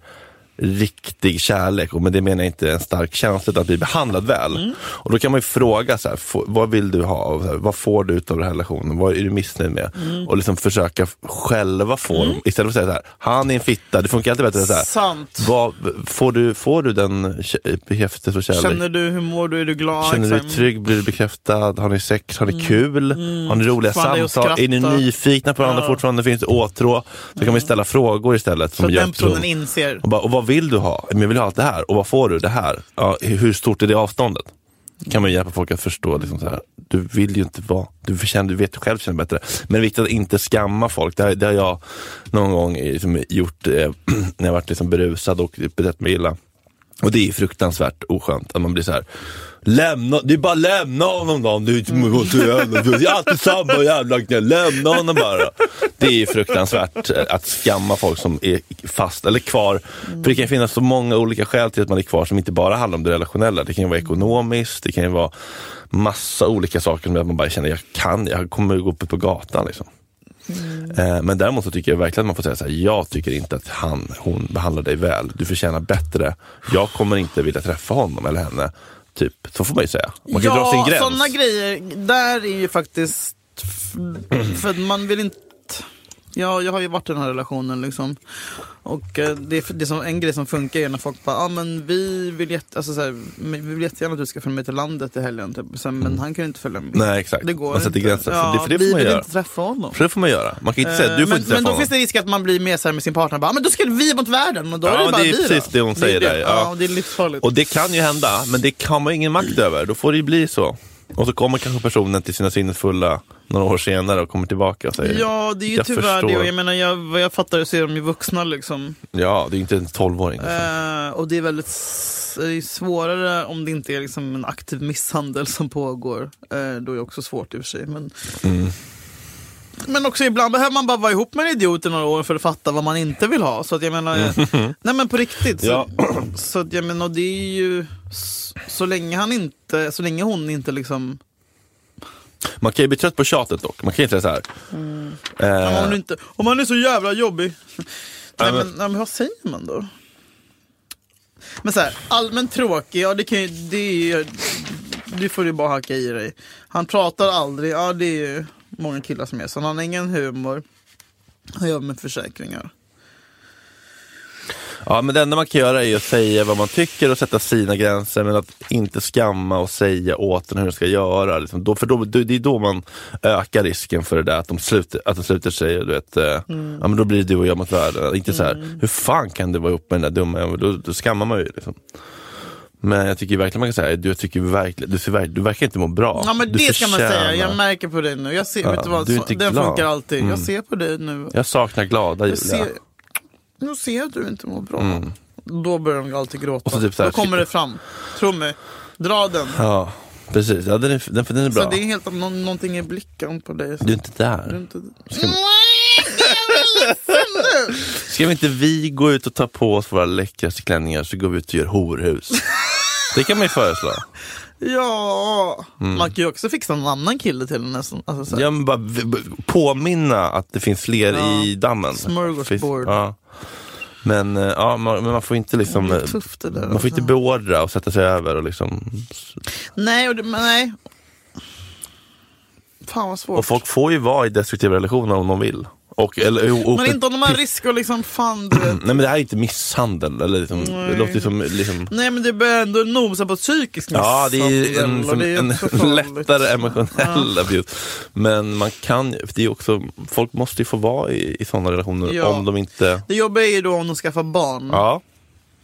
riktig kärlek och med det menar jag inte en stark känsla utan att bli behandlad väl. Och då kan man ju fråga så här, få- vad vill du ha? Och så här, Vad får du ut av den här relationen? Vad är du missnöjd med? Och liksom försöka f- själva få dem, istället för att säga så här, han är en fitta, det funkar alltid bättre så här.
Sant.
Vad, får, du, får du den kä- bekräftelse och kärlek?
Känner du, hur mår du, är du glad? Liksom.
Känner du dig
Exakt. Mm.
trygg? Blir du bekräftad? Har ni sex? Har ni kul? Har ni roliga
Fan, det är att
samtal? Är ni
skratta.
nyfikna på varandra fortfarande? Finns det åtrå? Så kan man ju ställa frågor istället.
Mm. Så
Som
att
gör
den
att tro-
personen inser.
och, bara, och vad vill du ha? Men jag vill ha allt det här. Och vad får du? Det här. Ja, hur hur stort är det avståndet? kan man ju hjälpa folk att förstå. Liksom så här, du vill ju inte vara... Du, förtjänar, du vet själv känner bättre. Men det är viktigt att inte skamma folk. Det, här, det har jag någon gång eh, liksom, gjort eh, när jag varit liksom, berusad och betett mig illa. Och det är fruktansvärt oskönt att man blir så här. Lämna, det är bara lämna honom då. om Du inte går till jävla- det är alltid samma jävla gnäll. Lämna honom bara. Det är ju fruktansvärt eh, att skamma folk som är fast eller kvar. För det kan ju finnas så många olika skäl till att man är kvar som inte bara handlar om det relationella. Det kan ju vara ekonomiskt, det kan ju vara massa olika saker som gör att man bara känner jag kan, jag kommer gå upp på gatan liksom. Eh, Men däremot så tycker jag verkligen att man får säga så här, jag tycker inte att han, hon behandlar dig väl. Du förtjänar bättre. Jag kommer inte vilja träffa honom eller henne. Typ, så får man ju säga. Man kan ju dra sin
ja,
gräns.
sådana grejer. Där är ju faktiskt... f- För att man vill inte... Ja, jag har ju varit i den här relationen liksom. Och eh, det, är- det är som, en grej som funkar är när folk bara, ah, men vi vill, jätte, alltså, så här, men vi vill jättegärna att du ska följa med till landet i helgen. Typ. Sen, men han kan ju inte följa med.
Mm. Nej, exakt.
Det går
man sätter
inte.
gränser.
Ja,
för det, för det
vi
får man
vill
göra.
inte träffa honom.
För det får man göra. Man kan inte säga,
Eh,
du får
men,
inte träffa
men då
honom.
finns det risk att man blir mer så här med sin partner. Bara, "Ah, men då ska vi mot världen. Och då
Ja,
är det, bara
det är
vi då.
precis det hon säger
det,
där, ja.
Ja, det är livsfarligt.
Och det kan ju hända, men det kan man ju ingen makt över. Då får det ju bli så. Och så kommer kanske personen till sina sinnesfulla några år senare och kommer tillbaka och säger
Ja, det är ju
jag
tyvärr det.
förstår.
Och jag menar, jag, vad jag fattar så är de ju vuxna liksom.
Ja, det är ju inte en tolvåring. Liksom.
Eh, och det är väldigt s- det är svårare om det inte är liksom en aktiv misshandel som pågår. Eh, då är det också svårt i och för sig. Men,
Mm.
men också ibland behöver man bara vara ihop med en idiot i några år för att fatta vad man inte vill ha. Så att jag menar, nej men på riktigt. Så,
Mm. Ja.
så att jag menar, och det är ju så, så länge han inte, så länge hon inte liksom,
Man kan ju bli trött på tjatet dock. Man kan ju säga så här.
Mm. om,
Eh,
hon inte, om han är så jävla jobbig. Nej,
men-
men, nej, men vad säger man då? Men så här, allmänt tråkig, ja det kan ju, det är ju, det får du bara hacka i dig. Han pratar aldrig, ja det är ju många killar som är så. Han har ingen humor. Han jobbar med försäkringar.
Ja, men det enda man kan göra är att säga vad man tycker och sätta sina gränser, men att inte skamma och säga åt den hur den ska göra. Liksom. Då, för då, då, det är då man ökar risken för det där att de sluter, att de sluter sig. och Du vet, eh,
Mm.
ja, men då blir det du och jag mot världen. Inte så här, hur fan kan du vara ihop med den där dumma jäveln? Då, då skammar man ju. Liksom. Men jag tycker verkligen man kan säga, du, jag tycker verkligen, du, ser, verk- du verkar inte må bra.
Ja men
du
det ska man säga,
förtjänar-
jag märker på dig nu. Jag ser,
Ja,
vet du vad,
du är
så-
inte
den
glad.
funkar alltid.
Mm.
Jag ser på dig nu.
jag saknar glada Julia.
Jag ser, nu ser jag att du inte mår bra. Då börjar de alltid gråta.
Mm. Och så typ så här-
Då kommer det fram. Tro mig, dra den.
Ja, precis. Ja, den, är, den, den är bra.
Så det Mm. är helt nå- någonting i blicken på dig.
Du är inte
Du är
där.
inte-
Ska vi inte vi gå ut och ta på oss våra läckraste klänningar så går vi ut och gör horhus? Det kan man ju föreslå.
Ja, man kan ju också fixa någon annan kille till henne. som- Alltså, så här.
Mm. Ja, men bara v- b- påminna att det finns fler
Ja.
i dammen.
Smörgåsbord.
Finns- Ja. Men, eh, ja, man, men man får inte liksom...
Det är tufft det där,
man får inte
alltså.
beordra och sätta sig över och liksom...
Nej, och det, men nej. Fan vad svårt.
Och folk får ju vara i destruktiva relationer om de vill. Och, eller, och, och,
men inte om de har risk och liksom fan du vet.
Nej men det här är inte misshandel. Eller liksom, det
Nej.
låter ju som liksom,
Nej men det börjar ändå nosa på psykisk misshandel.
Ja, det är ju en,
och
som,
det är
en
också farligt.
lättare emotionell abuse. Men man kan ju- det är ju också, folk måste ju få vara i, i sådana relationer
Ja.
om de inte...
Det jobbiga är ju då om de skaffar barn.
Ja,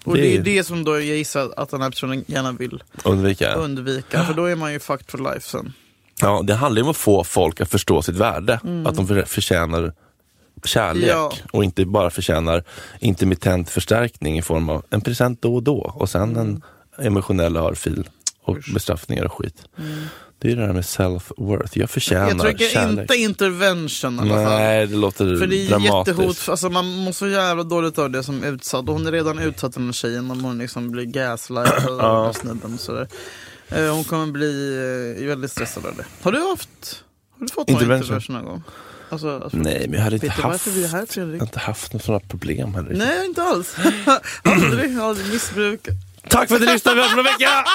och det är ju
det-
det som då jag gissar att den här personen gärna vill
undvika.
undvika. För då är man ju fucked for life sen.
Ja, det handlar ju om att få folk att förstå sitt värde. Att de för- förtjänar kärlek
Mm. Ja.
och inte bara förtjänar intermittent förstärkning i form av en present då och då och sen
Mm.
en emotionell örfil och bestraffningar och skit. Det är ju det där med self-worth. Jag förtjänar
Mm. Jag trycker
kärlek.
inte intervention i alla fall.
Nej, det låter
För det är
dramatiskt.
jättehot, alltså man mår så jävla dåligt av det som utsatt. Och hon är redan utsatt den här tjejen om hon liksom blir gaslightad av den här snubben och sådär. Eh, Hon kommer bli eh, väldigt stressad av det. Har du haft, har du fått någon
Intervention?
intervention någon gång? Alltså, alltså,
Nej, men jag hade inte
Vet du
haft,
varför vi är här
jag
Fredrik?
har inte haft några sådana problem heller.
Nej inte alls. aldrig, aldrig missbruk.
Tack för att ni lyssnade, vi hörs om en vecka!